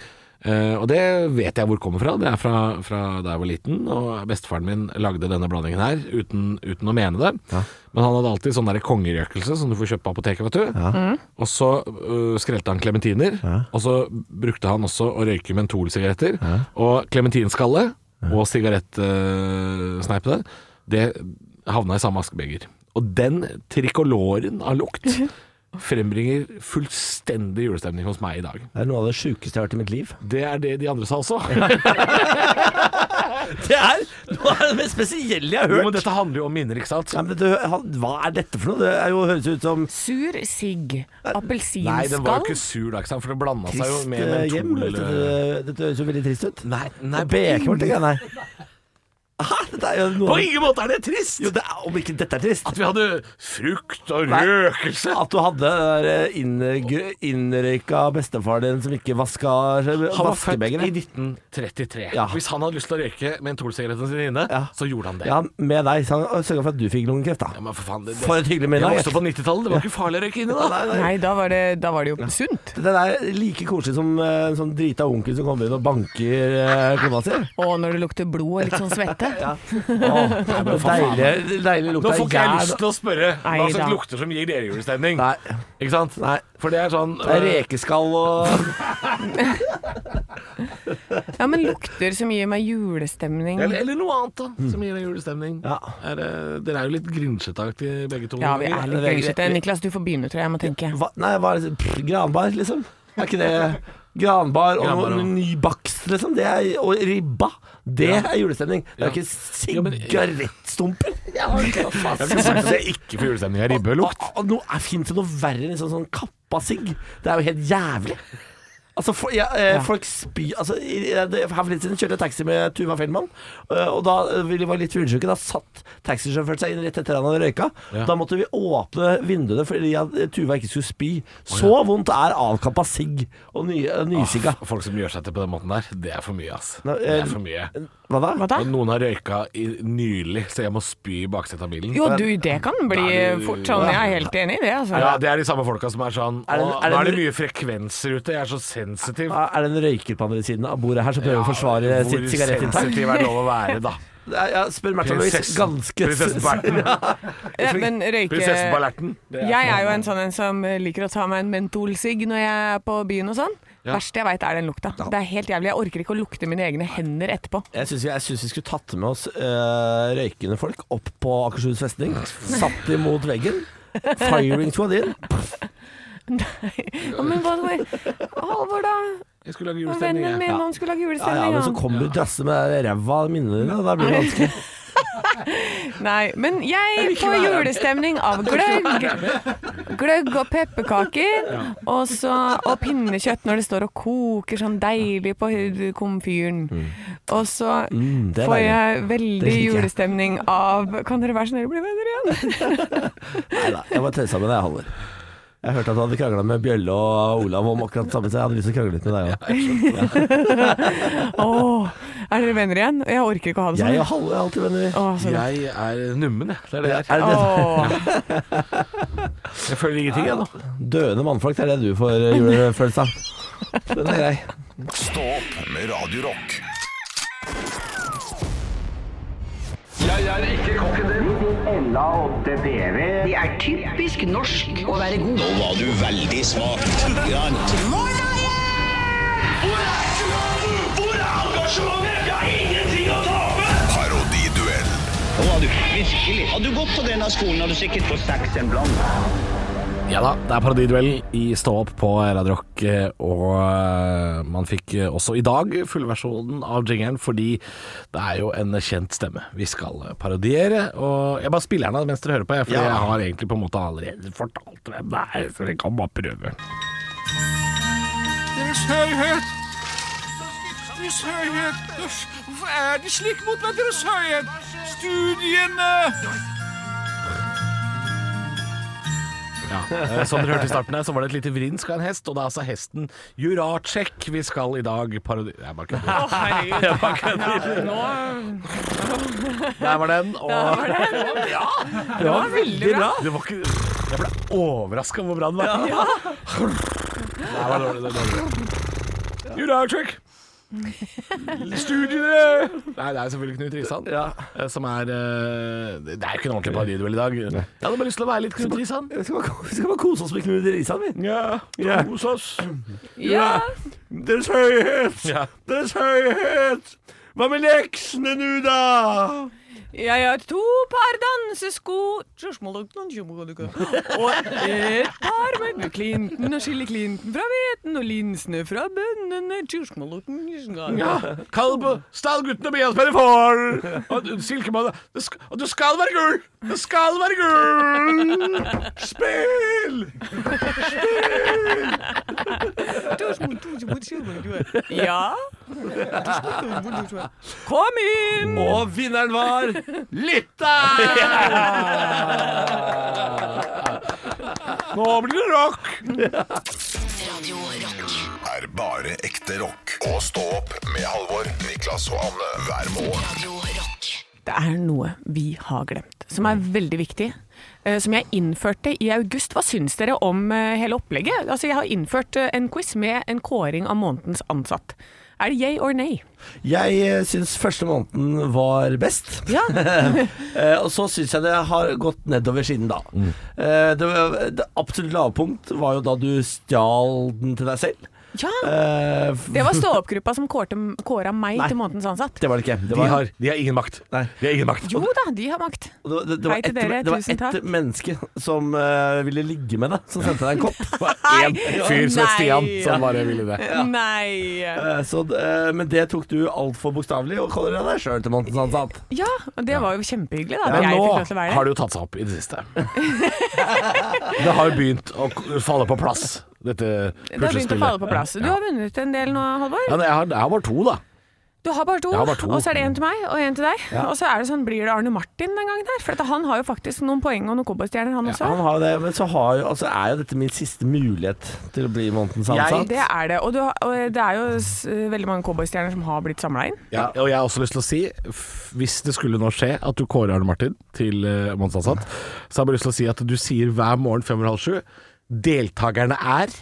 Speaker 3: Eh, og det vet jeg hvor kommer fra. Det er fra, fra da jeg var liten, og bestefaren min lagde denne blandingen her uten, uten å mene det. Men han hadde alltid sånn der kongerøkelse som du får kjøpe på apoteket, vet du. Og så øh, skrelte han klementiner, og så brukte han også å røyke mentolsigaretter. Og klementinskalle og sigarettsneipene, det havna i samme askebeger. Og den trikoloren av lukt frembringer fullstendig julestemning hos meg i dag.
Speaker 4: Det er noe av det sjukeste jeg har hørt i mitt liv.
Speaker 3: Det er det de andre sa også.
Speaker 4: Det er noe av det mest spesielle jeg har
Speaker 3: Jo, men
Speaker 4: hørt.
Speaker 3: dette handler jo om minner, ikke sant?
Speaker 4: Nei, men det, han, hva er dette for noe? Det er jo, høres ut som
Speaker 5: Sur sigg,
Speaker 3: Nei, den var jo
Speaker 5: appelsinskall
Speaker 3: ikke sur da, ikke sant? For det blanda seg jo
Speaker 4: trist
Speaker 3: med
Speaker 4: eh, hjem.
Speaker 3: mentol.
Speaker 4: Dette,
Speaker 3: eh,
Speaker 4: dette høres jo veldig trist ut.
Speaker 3: Nei, nei
Speaker 4: Og bekmørkt, ikke nei. Hæ? Dette er jo
Speaker 3: På
Speaker 4: noe
Speaker 3: ingen måte er det trist!
Speaker 4: jo, det er, Om ikke dette er trist.
Speaker 3: At vi hadde frukt og
Speaker 4: Nei.
Speaker 3: røkelse.
Speaker 4: At du hadde den der innegr- innrøyka bestefaren din som ikke vaska
Speaker 3: Han
Speaker 4: eh,
Speaker 3: var født i
Speaker 4: vaskebegeret.
Speaker 3: 1933.
Speaker 4: Ja.
Speaker 3: Hvis han hadde lyst til å røyke mentolsigarettene sine inne,
Speaker 4: Ja.
Speaker 3: så gjorde han det.
Speaker 4: Ja, med deg. Så han sørga for at du fikk lungekreft, da.
Speaker 3: Ja, men for faen, det, det.
Speaker 4: For et hyggelig middag.
Speaker 3: Jeg vokste opp på 90-tallet, det var ikke farlig å røyke inni da.
Speaker 5: Nei, da var det, da var det jo sunt.
Speaker 4: Den er like koselig som eh, en sånn drita onkel som kommer inn og banker eh, kona si.
Speaker 5: Og når det lukter blod og litt sånn svette.
Speaker 4: Deilig, deilig lukt
Speaker 3: Nå får
Speaker 4: av
Speaker 3: ikke jeg
Speaker 4: jern.
Speaker 3: lyst til å spørre hva
Speaker 5: Nei da.
Speaker 3: slags lukter som gir dere julestemning.
Speaker 4: Nei,
Speaker 3: Ikke sant?
Speaker 4: Nei.
Speaker 3: For det er sånn
Speaker 4: det er rekeskall og
Speaker 5: Ja, men lukter som gir meg julestemning.
Speaker 3: eh, Eller, eller noe annet da, som gir deg julestemning.
Speaker 4: Ja.
Speaker 3: Er det- dere er jo litt grinsjetaktige begge to.
Speaker 5: Ja, vi er litt
Speaker 3: Dere-
Speaker 5: grisete. Niklas, du får begynne, tror jeg. Jeg må tenke.
Speaker 4: hva, Nei, hva er det? Pff, Granbar, liksom. Er ikke det Granbar og
Speaker 3: Granbar,
Speaker 4: noe
Speaker 3: ja.
Speaker 4: ny bakst, liksom. Det er, og ribba. Det er julestemning. Det
Speaker 3: Ja.
Speaker 4: er ikke
Speaker 3: Ja, men-
Speaker 4: sigarettstumper. Ja,
Speaker 3: Jeg har ikke sagt at jeg ikke får julestemning av ribbelukt.
Speaker 4: Nå Fins det Ah, noe verre enn en sånn, sånn kappa sigg? Det er jo helt jævlig. Altså, for, ja, eh, Folk spyr altså, i- i- det- Her for litt siden kjørte jeg taxi med Tuva Fellmann. eh, Og da eh, vi var litt fyllesyke. Da satt taxisjåføren seg inn rett etter han hadde røyka.
Speaker 3: Ja.
Speaker 4: Da måtte vi åpne vinduene fordi at eh, Tuva ikke skulle spy. Så vondt er avkappa sigg og ny, og nysigga.
Speaker 3: Åh, Ah, Folk som gjør seg til på den måten der, det er for mye, ass.
Speaker 4: Nei,
Speaker 3: Det
Speaker 4: eh,
Speaker 3: er for mye.
Speaker 4: Hva da?
Speaker 5: Hva da?
Speaker 3: Og noen har røyka i, nylig, så jeg må spy i baksetet av bilen.
Speaker 5: Jo, du, det kan bli
Speaker 3: Da er du-
Speaker 5: fort sånn. Jeg er helt enig i det, altså.
Speaker 3: Ja, det er de samme folka som er sånn
Speaker 4: Er det-
Speaker 3: «Åh,
Speaker 4: er det-
Speaker 3: Nå er det mye frekvenser ute, jeg er så sensitiv.
Speaker 4: Ah, Er det en røyker på andre siden av bordet her som prøver å forsvare
Speaker 3: hvor
Speaker 4: sitt sigarettinntak?
Speaker 3: sensitiv er det lov å være, da?
Speaker 4: Ja, ja, spør Märtha Louise. Ganske
Speaker 3: Prinsesse Berten.
Speaker 5: Ja, men røyke
Speaker 3: Prinsesse Ballerten. Det er
Speaker 5: Jeg er jo en sånn en som liker å ta meg en mentolsigg når jeg er på byen og sånn. Verste jeg veit er den lukta. Det er helt jævlig. Jeg orker ikke å lukte mine egne hender etterpå.
Speaker 4: Jeg syns vi, jeg synes vi skulle tatt med oss eh, røykende folk opp på Akershus festning. Satt dem mot veggen. Firing squad inn.
Speaker 5: Nei. Ja, Men hva Halvor, da?
Speaker 3: Jeg skulle lage
Speaker 5: Og
Speaker 3: julestemning,
Speaker 5: Vennen
Speaker 3: jeg.
Speaker 5: min, han skulle lage
Speaker 4: Ja, ja,
Speaker 5: julestemning.
Speaker 4: men så
Speaker 5: han.
Speaker 4: kommer du drassende med ræva av minnene dine. og Da blir det vanskelig.
Speaker 5: Nei, men jeg
Speaker 3: liker
Speaker 5: får
Speaker 3: væreren.
Speaker 5: julestemning av gløgg. Gløgg og pepperkaker. Og, så, og pinnekjøtt når det står og koker sånn deilig på hu- komfyren. Og så
Speaker 4: Mm. det er
Speaker 5: får
Speaker 4: deilig.
Speaker 5: jeg
Speaker 4: Det
Speaker 5: veldig
Speaker 4: liker jeg.
Speaker 5: julestemning av Kan dere være snill å bli venner igjen?
Speaker 4: Nei da, jeg bare tøysa med deg, Halvor. Jeg hørte at du hadde krangla med Bjølle og Olav om akkurat samme, så jeg hadde lyst til å krangle litt med deg òg.
Speaker 5: Åh, er dere venner igjen? Jeg orker ikke å ha det
Speaker 4: Jeg og
Speaker 5: sånn.
Speaker 4: Halvor er alltid venner.
Speaker 5: Åh, så godt.
Speaker 3: Jeg er nummen, jeg. Det er det jeg er.
Speaker 4: Er det
Speaker 5: Åh,
Speaker 3: Jeg føler ingenting, jeg nå.
Speaker 4: døende mannfolk det er det du får eh, julefølelse av? Den er grei.
Speaker 2: Stå opp med Radio Rock.
Speaker 8: Det er typisk norsk å være god.
Speaker 9: Nå var du veldig smak.
Speaker 2: Parodiduell.
Speaker 9: Nå var du virkelig. Hadde du gått på denne skolen, hadde du sikkert fått seks en blant.
Speaker 3: Ja da, det er parodiduellen i Stå opp på Radio Rock, eh, og eh, man fikk eh, også i dag fullversjonen av jingeren, fordi det er jo en kjent stemme vi skal eh, parodiere. Og jeg bare spiller den av mens dere hører på, jeg, for jeg har egentlig på en måte allerede fortalt hvem det er, så dere kan bare prøve.
Speaker 10: Deres høyhet! Deres høyhet! Hvorfor er de slik mot meg, Deres høyhet? Studiene!
Speaker 3: Ja. eh, Som dere hørte i starten her, så var det et lite vrinsk av en hest, og det er altså hesten Juracek vi skal i dag parodiere Jeg bare kødder.
Speaker 5: Åh, herregud.
Speaker 3: Jeg bare kødder.
Speaker 5: Nå,
Speaker 3: Der var den. Og...
Speaker 5: Der var den.
Speaker 3: Det var bra.
Speaker 5: Det var veldig bra.
Speaker 3: Det var ikke... Jeg ble overraska hvor bra den var. Ja. Det var dårlig, det var dårlig. Juracek. Studiene Nei, det er selvfølgelig Knut Risan. eh, Som er eh, Det er jo ikke en ordentlig parodiduell i dag. Jeg hadde bare lyst til å være litt Knut Risan.
Speaker 4: Vi skal, bare, vi skal bare kose oss med Knut Risan, vi.
Speaker 3: Ja,
Speaker 4: Ja.
Speaker 3: Kos oss.
Speaker 5: ja.
Speaker 4: Deres høyhet!
Speaker 3: Ja.
Speaker 4: Deres høyhet! Hva med leksene nå, da?
Speaker 5: Jeg har to par dansesko Spørsmålet om kjømmekodukke. Og et par med klinten og skille klinten fra hveten og linsene fra bønnene Spørsmålet om kjømmekodukke.
Speaker 3: Ja, kall på stallguttene med hjelp for Og silkemannen det sk- Og det skal være gull! Det skal være gull! Spill!
Speaker 5: Ja? Kom inn!
Speaker 4: Og vinneren var
Speaker 3: Nå blir det rock!
Speaker 1: Radio Rock.
Speaker 2: er bare ekte rock. Og stå opp med Halvor, Niklas og Anne hver morgen.
Speaker 1: Radio Rock.
Speaker 5: Det er noe vi har glemt, som er veldig viktig. eh, Som jeg innførte i august. Hva syns dere om eh, hele opplegget? Altså, jeg har innført eh, en quiz med en kåring av månedens ansatt. Er det yay or nay?
Speaker 4: Jeg eh, syns første måneden var best.
Speaker 5: Ja.
Speaker 4: Eh, og så syns jeg det har gått nedover siden da. Eh, det, var- det absolutt lavpunkt var jo da du stjal den til deg selv.
Speaker 5: ja.
Speaker 4: Eh, f-
Speaker 5: Det var stå-opp-gruppa som kårte- kåra meg
Speaker 4: Nei.
Speaker 5: til månedens ansatt.
Speaker 4: det var det ikke. Det
Speaker 3: De
Speaker 4: var,
Speaker 3: har, de har ingen makt.
Speaker 4: Nei.
Speaker 3: De har ingen makt.
Speaker 5: Jo da, de har makt.
Speaker 4: og det, var- det, det var
Speaker 5: Hei til
Speaker 4: ett
Speaker 5: dere,
Speaker 4: det var
Speaker 5: tusen takk.
Speaker 4: ett menneske som eh, ville ligge med deg, som sendte deg en kopp.
Speaker 3: Det var én fyr som het Stian
Speaker 5: Nei.
Speaker 3: som bare ville det.
Speaker 5: Nei
Speaker 4: Eh, så, d- eh, men det tok du altfor bokstavelig, og kaller deg sjøl til månedens ansatt.
Speaker 5: Ja, og det var jo kjempehyggelig, da. at
Speaker 3: Men
Speaker 5: jeg
Speaker 3: nå
Speaker 5: fikk lov til å være der.
Speaker 3: har det jo tatt seg opp i det siste. Det har jo begynt å k- falle på plass, dette
Speaker 5: Det har begynt å falle på
Speaker 3: puslespillet.
Speaker 5: plass. Du har vunnet en del nå, Halvor.
Speaker 3: Ja, men jeg har, jeg har bare to, da.
Speaker 5: Du har bare to,
Speaker 3: Jeg har bare to.
Speaker 5: og så er det én til meg og én til deg. Og så er det sånn, blir det Arne Martin den gangen her? For at han har jo faktisk noen poeng og noen cowboystjerner, han også.
Speaker 4: Han har jo det, men så har jo, altså, er jo dette min siste mulighet til å bli månedens ansatt.
Speaker 5: Det er det. Og, du, har- og det er jo s veldig mange cowboystjerner som har blitt samla inn.
Speaker 3: Ja, og jeg har også lyst til å si, f- hvis det skulle nå skje at du kårer Arne Martin til uh, månedsansatt, så har jeg bare lyst til å si at du sier hver morgen fem over halv sju Deltakerne er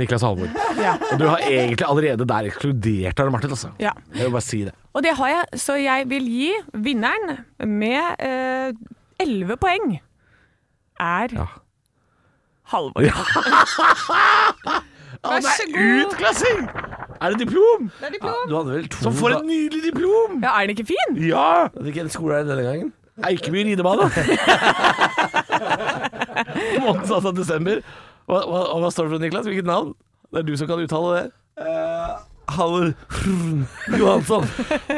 Speaker 3: Niklas Halvor.
Speaker 5: Ja.
Speaker 3: Og du har egentlig allerede der ekskludert Arne Martin, altså.
Speaker 5: Ja.
Speaker 3: Jeg vil bare si det.
Speaker 5: Og det har jeg, så jeg vil gi vinneren med eh, elleve poeng er Halvor. Vær så god.
Speaker 3: Utklassing! Er det diplom?
Speaker 5: Det er diplom.
Speaker 4: Du hadde vel to
Speaker 3: Som får
Speaker 4: da-
Speaker 3: et nydelig diplom!
Speaker 5: Ja, er den ikke fin?
Speaker 3: Ja!
Speaker 4: Hvilken skole er det denne gangen?
Speaker 3: Eikeby ridebane. Månedsansatt
Speaker 4: Eh,
Speaker 3: desember. Hva, hva, og hva står det for Niklas? Hvilket navn? Det er du som kan uttale det.
Speaker 4: kaller Johansson.
Speaker 3: For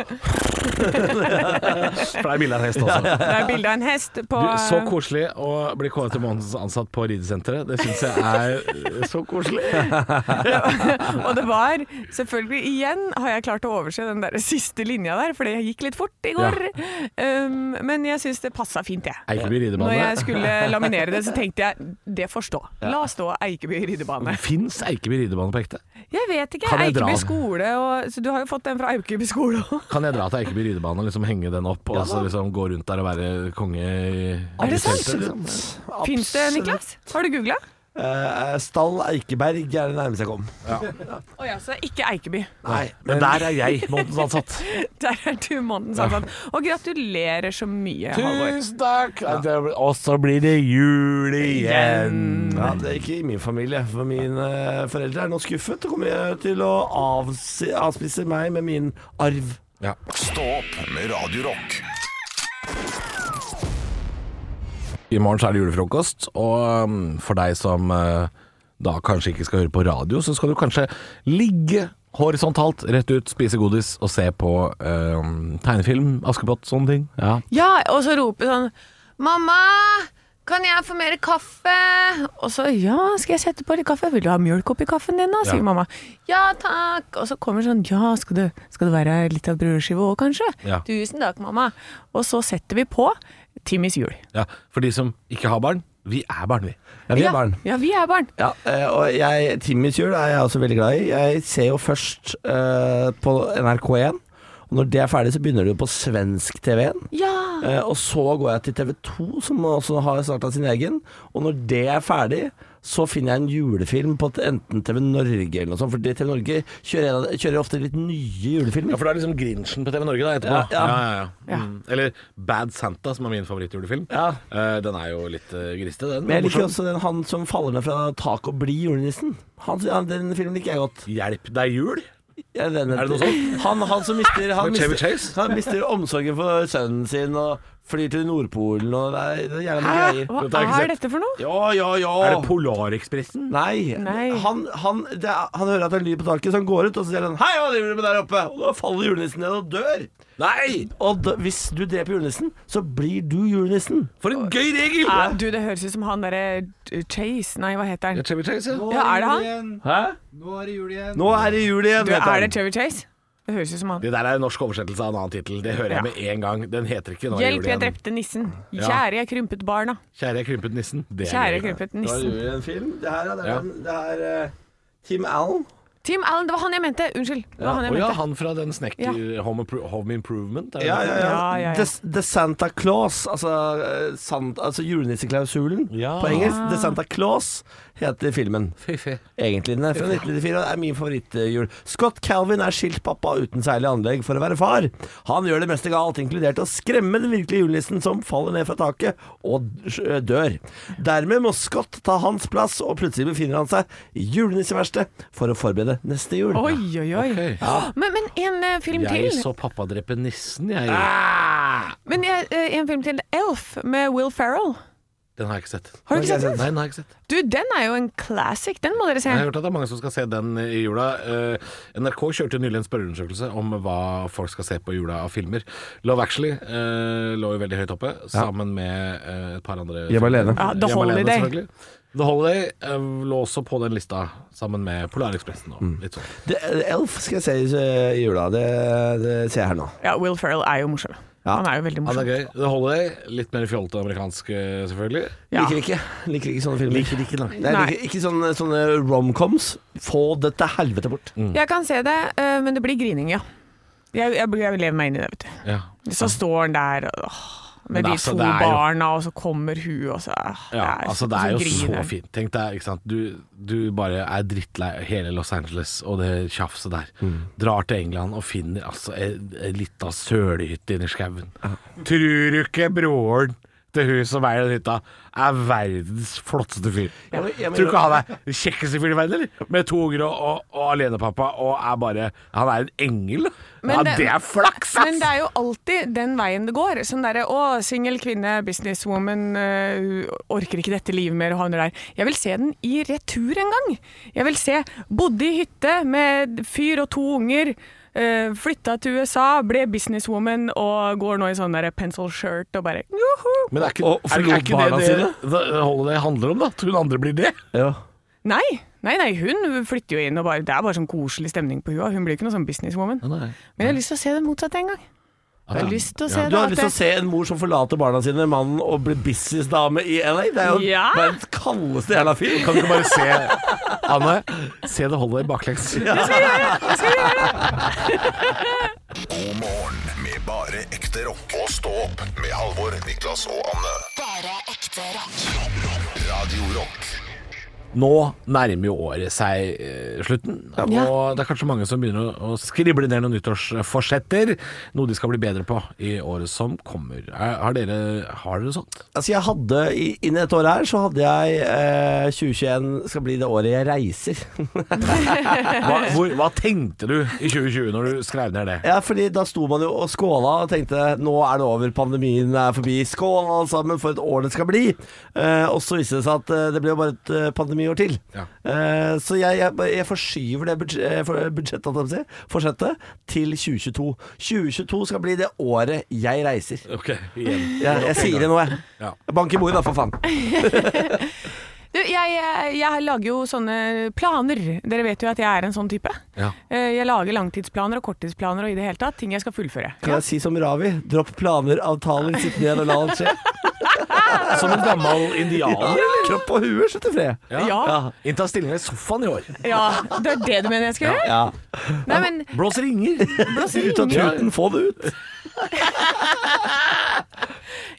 Speaker 3: det er bilde av en hest også.
Speaker 5: Det er bilde av en hest på
Speaker 3: Du, så koselig å bli kåret til månedens ansatt på ridesenteret. Det syns jeg er så koselig.
Speaker 5: Og det var selvfølgelig igjen har jeg klart å overse den der siste linja der, for det gikk litt fort i går. Um, men jeg syns det passa fint, jeg.
Speaker 3: Eikeby
Speaker 5: Når jeg
Speaker 3: ridebane.
Speaker 5: skulle laminere det, så tenkte jeg det får stå. La stå Eikeby ridebane.
Speaker 3: Fins Eikeby ridebane på ekte?
Speaker 5: Jeg vet ikke.
Speaker 3: Kan jeg dra
Speaker 5: Eikeby
Speaker 3: den?
Speaker 5: skole og Så du har jo fått den fra Eikeby skole òg.
Speaker 3: Kan jeg dra til Eikeby ridebane og liksom henge den opp, og så liksom gå rundt der og være konge i
Speaker 5: Er det
Speaker 3: i
Speaker 5: sant?
Speaker 3: teltet, liksom?
Speaker 5: Fins det, Niklas? Har du googla?
Speaker 4: Eh, Stall Eikeberg er det nærmeste jeg kom.
Speaker 5: Å ja, så det er ikke Eikeby.
Speaker 4: Nei,
Speaker 3: Men der er jeg månedens ansatt.
Speaker 5: Der er du månedens ansatt. Og gratulerer så mye, Halvor.
Speaker 3: Tusen takk! Og så blir det jul igjen.
Speaker 4: ja, det er ikke i min familie, for mine foreldre er nå skuffet. Og kommer jeg til å avsi, avspise meg med min arv.
Speaker 3: Ja.
Speaker 2: Stå opp med Radio Rock.
Speaker 3: I morgen så er det julefrokost, og um, for deg som eh, da kanskje ikke skal høre på radio, så skal du kanskje ligge horisontalt rett ut, spise godis og se på eh, tegnefilm, Askepott, sånne ting. Ja.
Speaker 5: Ja, og så roper sånn Mamma, kan jeg få mer kaffe? Og så ja, skal jeg sette på litt kaffe? Vil du ha mjølk oppi kaffen din da? sier
Speaker 3: Ja.
Speaker 5: mamma. Ja takk. Og så kommer sånn ja, skal det, skal det være litt av brødskive òg kanskje?
Speaker 3: Ja.
Speaker 5: Tusen takk, mamma. Og så setter vi på Timmys jul.
Speaker 3: ja. For de som ikke har barn, vi er barn, vi.
Speaker 4: Ja, vi er barn.
Speaker 5: Ja, vi er barn.
Speaker 4: Ja, eh, og jeg, Timmys jul er jeg også veldig glad i. Jeg ser jo først eh, på NRK1. Og når det er ferdig, så begynner det jo på svensk TV1.
Speaker 5: Ja.
Speaker 4: Eh, og så går jeg til TV2, som også har starta sin egen. Og når det er ferdig, så finner jeg en julefilm på t- enten TV Norge eller noe sånt. For det- TV Norge kjører, en av de- kjører ofte litt nye julefilmer.
Speaker 3: for det er liksom Grinchen på TV Norge da, etterpå.
Speaker 4: Ja.
Speaker 5: Ja.
Speaker 3: Mm. Eller Bad Santa, som er min favorittjulefilm.
Speaker 4: Ja.
Speaker 3: Eh, den er jo litt eh, griste, den.
Speaker 4: Men jeg liker
Speaker 3: Morsom.
Speaker 4: også den han som faller ned fra taket og blir julenissen. Han, han, den filmen liker jeg godt.
Speaker 3: Hjelp, det er jul.
Speaker 4: Jeg, den,
Speaker 3: Er det noe sånt?
Speaker 4: Han, han som mister han
Speaker 3: Med Chevy
Speaker 4: mister,
Speaker 3: Chase?
Speaker 4: han mister omsorgen for sønnen sin og flyr til Nordpolen og det er, det er jævla mye greier.
Speaker 5: Hva
Speaker 3: Dette har jeg ikke
Speaker 5: er
Speaker 3: sett.
Speaker 5: dette for noe?
Speaker 4: Ja, ja, ja.
Speaker 3: Er det Polarekspressen?
Speaker 4: Nei.
Speaker 5: Nei.
Speaker 4: Han, han, det er, han hører at det er lyd på taket, så han går ut og så sier han 'Hei, hva driver du med der oppe?' Og da faller julenissen ned og dør.
Speaker 3: Nei!
Speaker 4: Og da, hvis du dreper julenissen, så blir du julenissen.
Speaker 3: For en gøy regel!
Speaker 4: Ah.
Speaker 5: Ja, Ah, du, det høres ut som han derre eh, Chase, nei, hva heter han?
Speaker 3: Chevy Chase, ja.
Speaker 5: Ja, er det han?
Speaker 4: Hæ?
Speaker 10: Nå er det jul igjen.
Speaker 4: Nå er det jul igjen,
Speaker 5: Du,
Speaker 4: vet
Speaker 5: er det
Speaker 4: han.
Speaker 5: Chevy Chase? Det høres ut som han.
Speaker 3: Det der er en norsk oversettelse av en annen tittel. Det hører jeg
Speaker 5: Ja.
Speaker 3: med en gang. Den heter ikke 'Nå er det
Speaker 5: Hjelp,
Speaker 3: jul
Speaker 5: jeg
Speaker 3: igjen'.
Speaker 5: drepte nissen.
Speaker 3: Ja.
Speaker 5: Kjære, jeg krympet barna.
Speaker 3: Kjære, jeg krympet nissen. Det er
Speaker 5: Kjære,
Speaker 3: gøy.
Speaker 5: jeg krympet
Speaker 4: Nå er det
Speaker 5: nissen.
Speaker 4: jul igjen film. Det her er, det
Speaker 3: Ja.
Speaker 4: er, det er eh, Tim Allen.
Speaker 5: Tim Allen, det var han jeg mente. Unnskyld. Det var han jeg
Speaker 3: Å ja,
Speaker 5: mente.
Speaker 3: han fra den snekker Home, Impro- Home Improvement? er det det?
Speaker 5: Ja, ja, ja.
Speaker 4: The, the Santa Claus, altså, eh, sant- altså julenisseklausulen
Speaker 3: Ja.
Speaker 4: på engelsk. The
Speaker 5: Ah.
Speaker 4: Santa Claus heter filmen.
Speaker 3: Fy, fy.
Speaker 4: Egentlig den er fra 1994 og er min favorittjul. Scott Calvin er skilt pappa uten særlig anlegg for å være far. Han gjør det meste galt, inkludert å skremme den virkelige julenissen som faller ned fra taket og d- eh, dør. Dermed må Scott ta hans plass, og plutselig befinner han seg i julenisseverkstedet for å forberede neste jul.
Speaker 5: Oi, oi, oi. Men, men en eh, film
Speaker 3: Jeg
Speaker 5: til. Ah.
Speaker 3: så pappa drepe nissen, jeg.
Speaker 5: Men jeg, eh, en film til. Elf med Will Ferrell.
Speaker 3: Den har jeg ikke sett.
Speaker 5: Har du ikke sett den?
Speaker 3: Nei, den har jeg ikke sett.
Speaker 5: Du, den er jo en classic. Den må dere se.
Speaker 3: Jeg har hørt at det er mange som skal se den i jula. Eh, NRK kjørte nylig en spørreundersøkelse om hva folk skal se på i jula av filmer. Love Actually eh, lå jo veldig høyt oppe, sammen med eh, et par andre
Speaker 4: Hjem alene.
Speaker 5: Ja, The
Speaker 3: Hjem alene,
Speaker 5: Holiday.
Speaker 3: selvfølgelig. The Holiday eh, lå også på den lista, sammen med Polarekspressen og
Speaker 5: Mm.
Speaker 3: litt sånn.
Speaker 4: Det, Elf skal jeg se i, eh, i jula. Det, det ser jeg her nå.
Speaker 5: Ja, Will Ferrell er jo morsom.
Speaker 4: Ja.
Speaker 5: Han er jo veldig
Speaker 3: Ja, det er
Speaker 5: morsom.
Speaker 3: gøy. The Holiday, litt mer fjollete amerikansk, eh, selvfølgelig.
Speaker 5: Ja.
Speaker 4: Liker ikke Liker ikke sånne filmer. Liker ikke,
Speaker 5: Nei.
Speaker 4: liker, ikke sånne, sånne romcoms. Få det til helvete bort.
Speaker 3: Mm.
Speaker 5: Jeg kan se det, eh, men det blir grining, ja. Jeg, jeg, jeg lever meg inn i det, vet du.
Speaker 3: Ja.
Speaker 5: Så står han der og åh,
Speaker 3: Men
Speaker 5: med de
Speaker 3: altså,
Speaker 5: to
Speaker 3: det er jo-
Speaker 5: barna, og så kommer hun, og så ah,
Speaker 3: Ja, altså Det er jo
Speaker 5: griner
Speaker 3: så
Speaker 5: han.
Speaker 3: fint. Tenk deg, ikke sant. Du, du bare er drittlei hele Los Angeles og det tjafset der. Drar til England og finner altså ei ei lita sølehytte inni skauen. Trur du ikke broren til hun som eier den hytta er verdens flotteste fyr.
Speaker 4: Ja, men- ja, men-
Speaker 3: Tror du ikke han er den kjekkeste fyren i verden, eller? Med to unger og, og, og alenepappa og er bare Han er en engel.
Speaker 5: Men
Speaker 3: ja,
Speaker 5: det-
Speaker 3: det er flaks,
Speaker 5: Men
Speaker 3: ass!
Speaker 5: det er jo alltid den veien det går. Sånn derre å, singel kvinne, businesswoman, øh, orker ikke dette livet mer og havner der. Jeg vil se den i retur en gang. Jeg vil se bodde i hytte med fyr og to unger. øh, flytta til USA, ble businesswoman og går nå i sånn der pencil shirt og bare joho!
Speaker 3: Men er ikke, er,
Speaker 4: Og
Speaker 3: er
Speaker 4: forlot
Speaker 3: ikke det
Speaker 4: barna
Speaker 3: det,
Speaker 4: sine?
Speaker 3: det holdet det handler om, da? At hun andre blir det?
Speaker 4: Ja.
Speaker 5: Nei, nei, nei, hun flytter jo inn og bare, det er bare sånn koselig stemning på hua. Hun blir ikke noe sånn businesswoman. Men jeg har lyst til å se det motsatte en gang. Jeg har lyst til å se
Speaker 4: Du
Speaker 5: det
Speaker 4: har
Speaker 5: at
Speaker 4: lyst til å
Speaker 5: det-
Speaker 4: se en mor som forlater barna sine, mannen, og blir businessdame i LA? Det er jo
Speaker 5: Ja.
Speaker 4: verdens kaldeste jævla film.
Speaker 3: Kan du ikke bare se Anne, se det holdet baklengs.
Speaker 2: God morgen med bare ekte rock. Og stå opp med Halvor, Niklas og Anne.
Speaker 1: Bare ekte rock.
Speaker 2: Radio Rock.
Speaker 3: Nå nærmer jo året seg eh, slutten, og det er kanskje mange som begynner å, å skrible ned noen nyttårsforsetter. Noe de skal bli bedre på i året som kommer. Er, har, dere, har dere sånt?
Speaker 4: Altså jeg hadde, i- Innen et år her så hadde jeg eh, 2021 skal bli det året jeg reiser.
Speaker 3: Hva, hvor, hva tenkte du i 2020 når du skrev ned det?
Speaker 4: Ja, fordi da sto man jo og skåla og tenkte nå er det over, pandemien er forbi. Skål alle sammen for et år det skal bli. Eh, og så viste det seg at eh, det ble jo bare et eh, pandemiår til.
Speaker 3: Ja.
Speaker 4: Eh, så jeg, jeg, jeg forskyver det budg- eh, for- budsjettet, holdt jeg på å si, forsettet, til 2022. 2022 skal bli det året jeg reiser.
Speaker 3: Ok, igjen.
Speaker 4: Jeg, jeg sier det nå, jeg.
Speaker 3: Ja.
Speaker 4: Bank i bordet, da, for faen.
Speaker 5: Du, jeg, jeg, jeg lager jo sånne planer. Dere vet jo at jeg er en sånn type.
Speaker 3: Ja.
Speaker 5: Eh, Jeg lager langtidsplaner og korttidsplaner og i det hele tatt ting jeg skal fullføre.
Speaker 4: Kan jeg si som Ravi? Dropp planer, avtaler, sitt ned og la alt skje.
Speaker 3: Som en gammel indianer.
Speaker 4: Kropp og hue, slutt i fred.
Speaker 5: Ja.
Speaker 3: Innta stillinga i sofaen i år.
Speaker 5: ja, det er det du mener jeg skal gjøre?
Speaker 4: Ja.
Speaker 5: Nei, men
Speaker 3: Blås ringer.
Speaker 4: Ut av tuten, få det ut.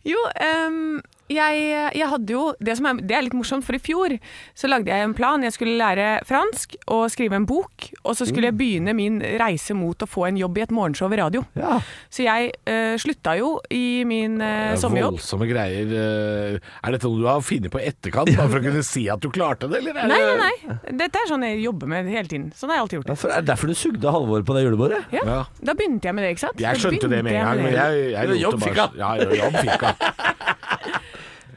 Speaker 5: jo, ehm, jeg, jeg hadde jo det, som er, det er litt morsomt, for i fjor så lagde jeg en plan. Jeg skulle lære fransk og skrive en bok, og så skulle jeg begynne min reise mot å få en jobb i et morgenshow i radio.
Speaker 4: Ja.
Speaker 5: Så jeg eh, slutta jo i min eh, sommerjobb.
Speaker 3: Voldsomme greier. eh, Er dette noe du har funnet på i etterkant, bare for å kunne si at du klarte det, eller? er
Speaker 5: Nei,
Speaker 3: det-
Speaker 5: nei, nei. Dette er sånn jeg jobber med hele tiden. Sånn har jeg alltid gjort.
Speaker 4: Ja, for er det derfor du sugde Halvor på det julebordet?
Speaker 5: Ja.
Speaker 3: Ja.
Speaker 5: Da begynte jeg med det, ikke sant?
Speaker 3: Jeg
Speaker 5: Da
Speaker 3: skjønte det med en gang,
Speaker 5: begynte
Speaker 3: men
Speaker 5: jeg
Speaker 3: jeg, jeg
Speaker 4: Men jobb
Speaker 3: roter bare-
Speaker 4: fikk han.
Speaker 3: Ja, ja, jobb fikk han.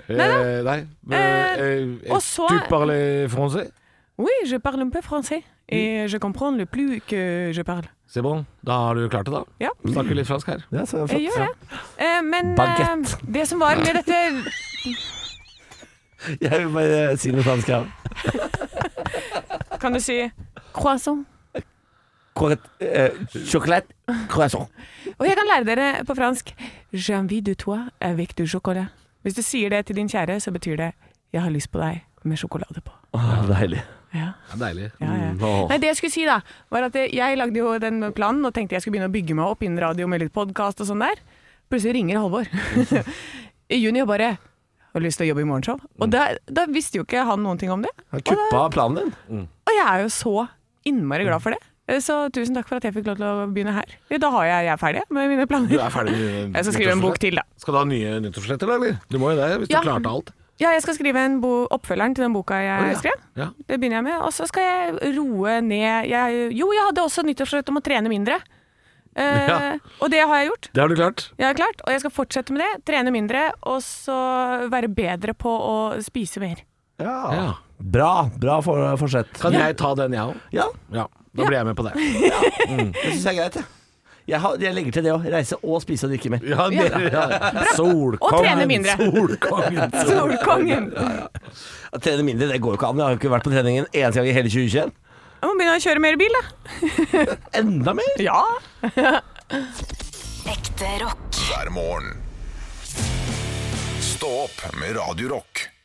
Speaker 3: Eh, nei. men, eh,
Speaker 5: og så-
Speaker 3: Tu parles français?
Speaker 5: Oui, je parle un peu français.
Speaker 3: Mm.
Speaker 5: Et je comprends le plus que je parle.
Speaker 3: C'est bon. Da har du klart det, da.
Speaker 5: Ja,
Speaker 3: Snakker litt fransk her.
Speaker 4: Ja, så
Speaker 5: jeg gjør det. Eh, Men
Speaker 4: Baguette.
Speaker 5: eh, det som var med dette
Speaker 4: Jeg vil bare si noe fransk her.
Speaker 5: Kan du si croissant?
Speaker 4: Correct, eh, Chocolate croissant.
Speaker 5: Og jeg kan lære dere på fransk J'ai envie de toi avec du chocolat. Hvis du sier det til din kjære, så betyr det jeg har lyst på deg med sjokolade på.
Speaker 4: Åh, deilig.
Speaker 5: Ja.
Speaker 3: Ja, deilig.
Speaker 5: Ja, ja.
Speaker 4: Mm, åh.
Speaker 5: Nei, det jeg skulle si da, var at jeg lagde jo den planen og tenkte jeg skulle begynne å bygge meg opp innen radio med litt podkast og sånn der. Plutselig ringer Halvor i juni og bare har du lyst til å jobbe i morgenshow. Og da,
Speaker 4: Mm.
Speaker 5: da visste jo ikke han noen ting om det.
Speaker 4: Han kuppa planen din.
Speaker 5: Og jeg er jo så innmari glad for det. Eh, Så tusen takk for at jeg fikk lov til å begynne her. Da har jeg, jeg er ferdig med mine planer.
Speaker 3: Du er ferdig med
Speaker 5: Jeg skal skrive en bok til, da.
Speaker 3: Skal du ha nye nyttårsforsetter, da, eller? Du må jo det, hvis
Speaker 5: Ja.
Speaker 3: du klarte alt.
Speaker 5: Ja, jeg skal skrive en bo oppfølgeren til den boka jeg
Speaker 3: Å, ja.
Speaker 5: skrev.
Speaker 3: Ja.
Speaker 5: Det begynner jeg med. Og så skal jeg roe ned jeg, Jo, jeg hadde også nyttårsrett om å trene mindre. Eh,
Speaker 3: Ja.
Speaker 5: Og det har jeg gjort.
Speaker 3: Det har du klart.
Speaker 5: Jeg har klart, og jeg skal fortsette med det. Trene mindre, og så være bedre på å spise mer.
Speaker 3: Ja.
Speaker 4: Bra. Bra for, eh, forsett.
Speaker 3: Kan jeg ta den, jeg òg?
Speaker 4: Ja,
Speaker 3: Ja. Da blir jeg med på det.
Speaker 4: det syns jeg er greit, jeg. Jeg, har, jeg legger til det òg. Reise og spise og drikke mer.
Speaker 3: Ja, det, ja. Solkongen.
Speaker 5: Og trene mindre.
Speaker 3: Solkongen.
Speaker 5: Solkongen!
Speaker 4: Å Trene mindre, det går jo ikke an. Jeg har jo ikke vært på trening en eneste gang i hele 2021.
Speaker 5: Jeg må begynne å kjøre mer bil, da.
Speaker 4: Enda mer!
Speaker 5: Ja.
Speaker 1: Ekte rock.
Speaker 2: hver morgen. Stå opp med Radio Rock.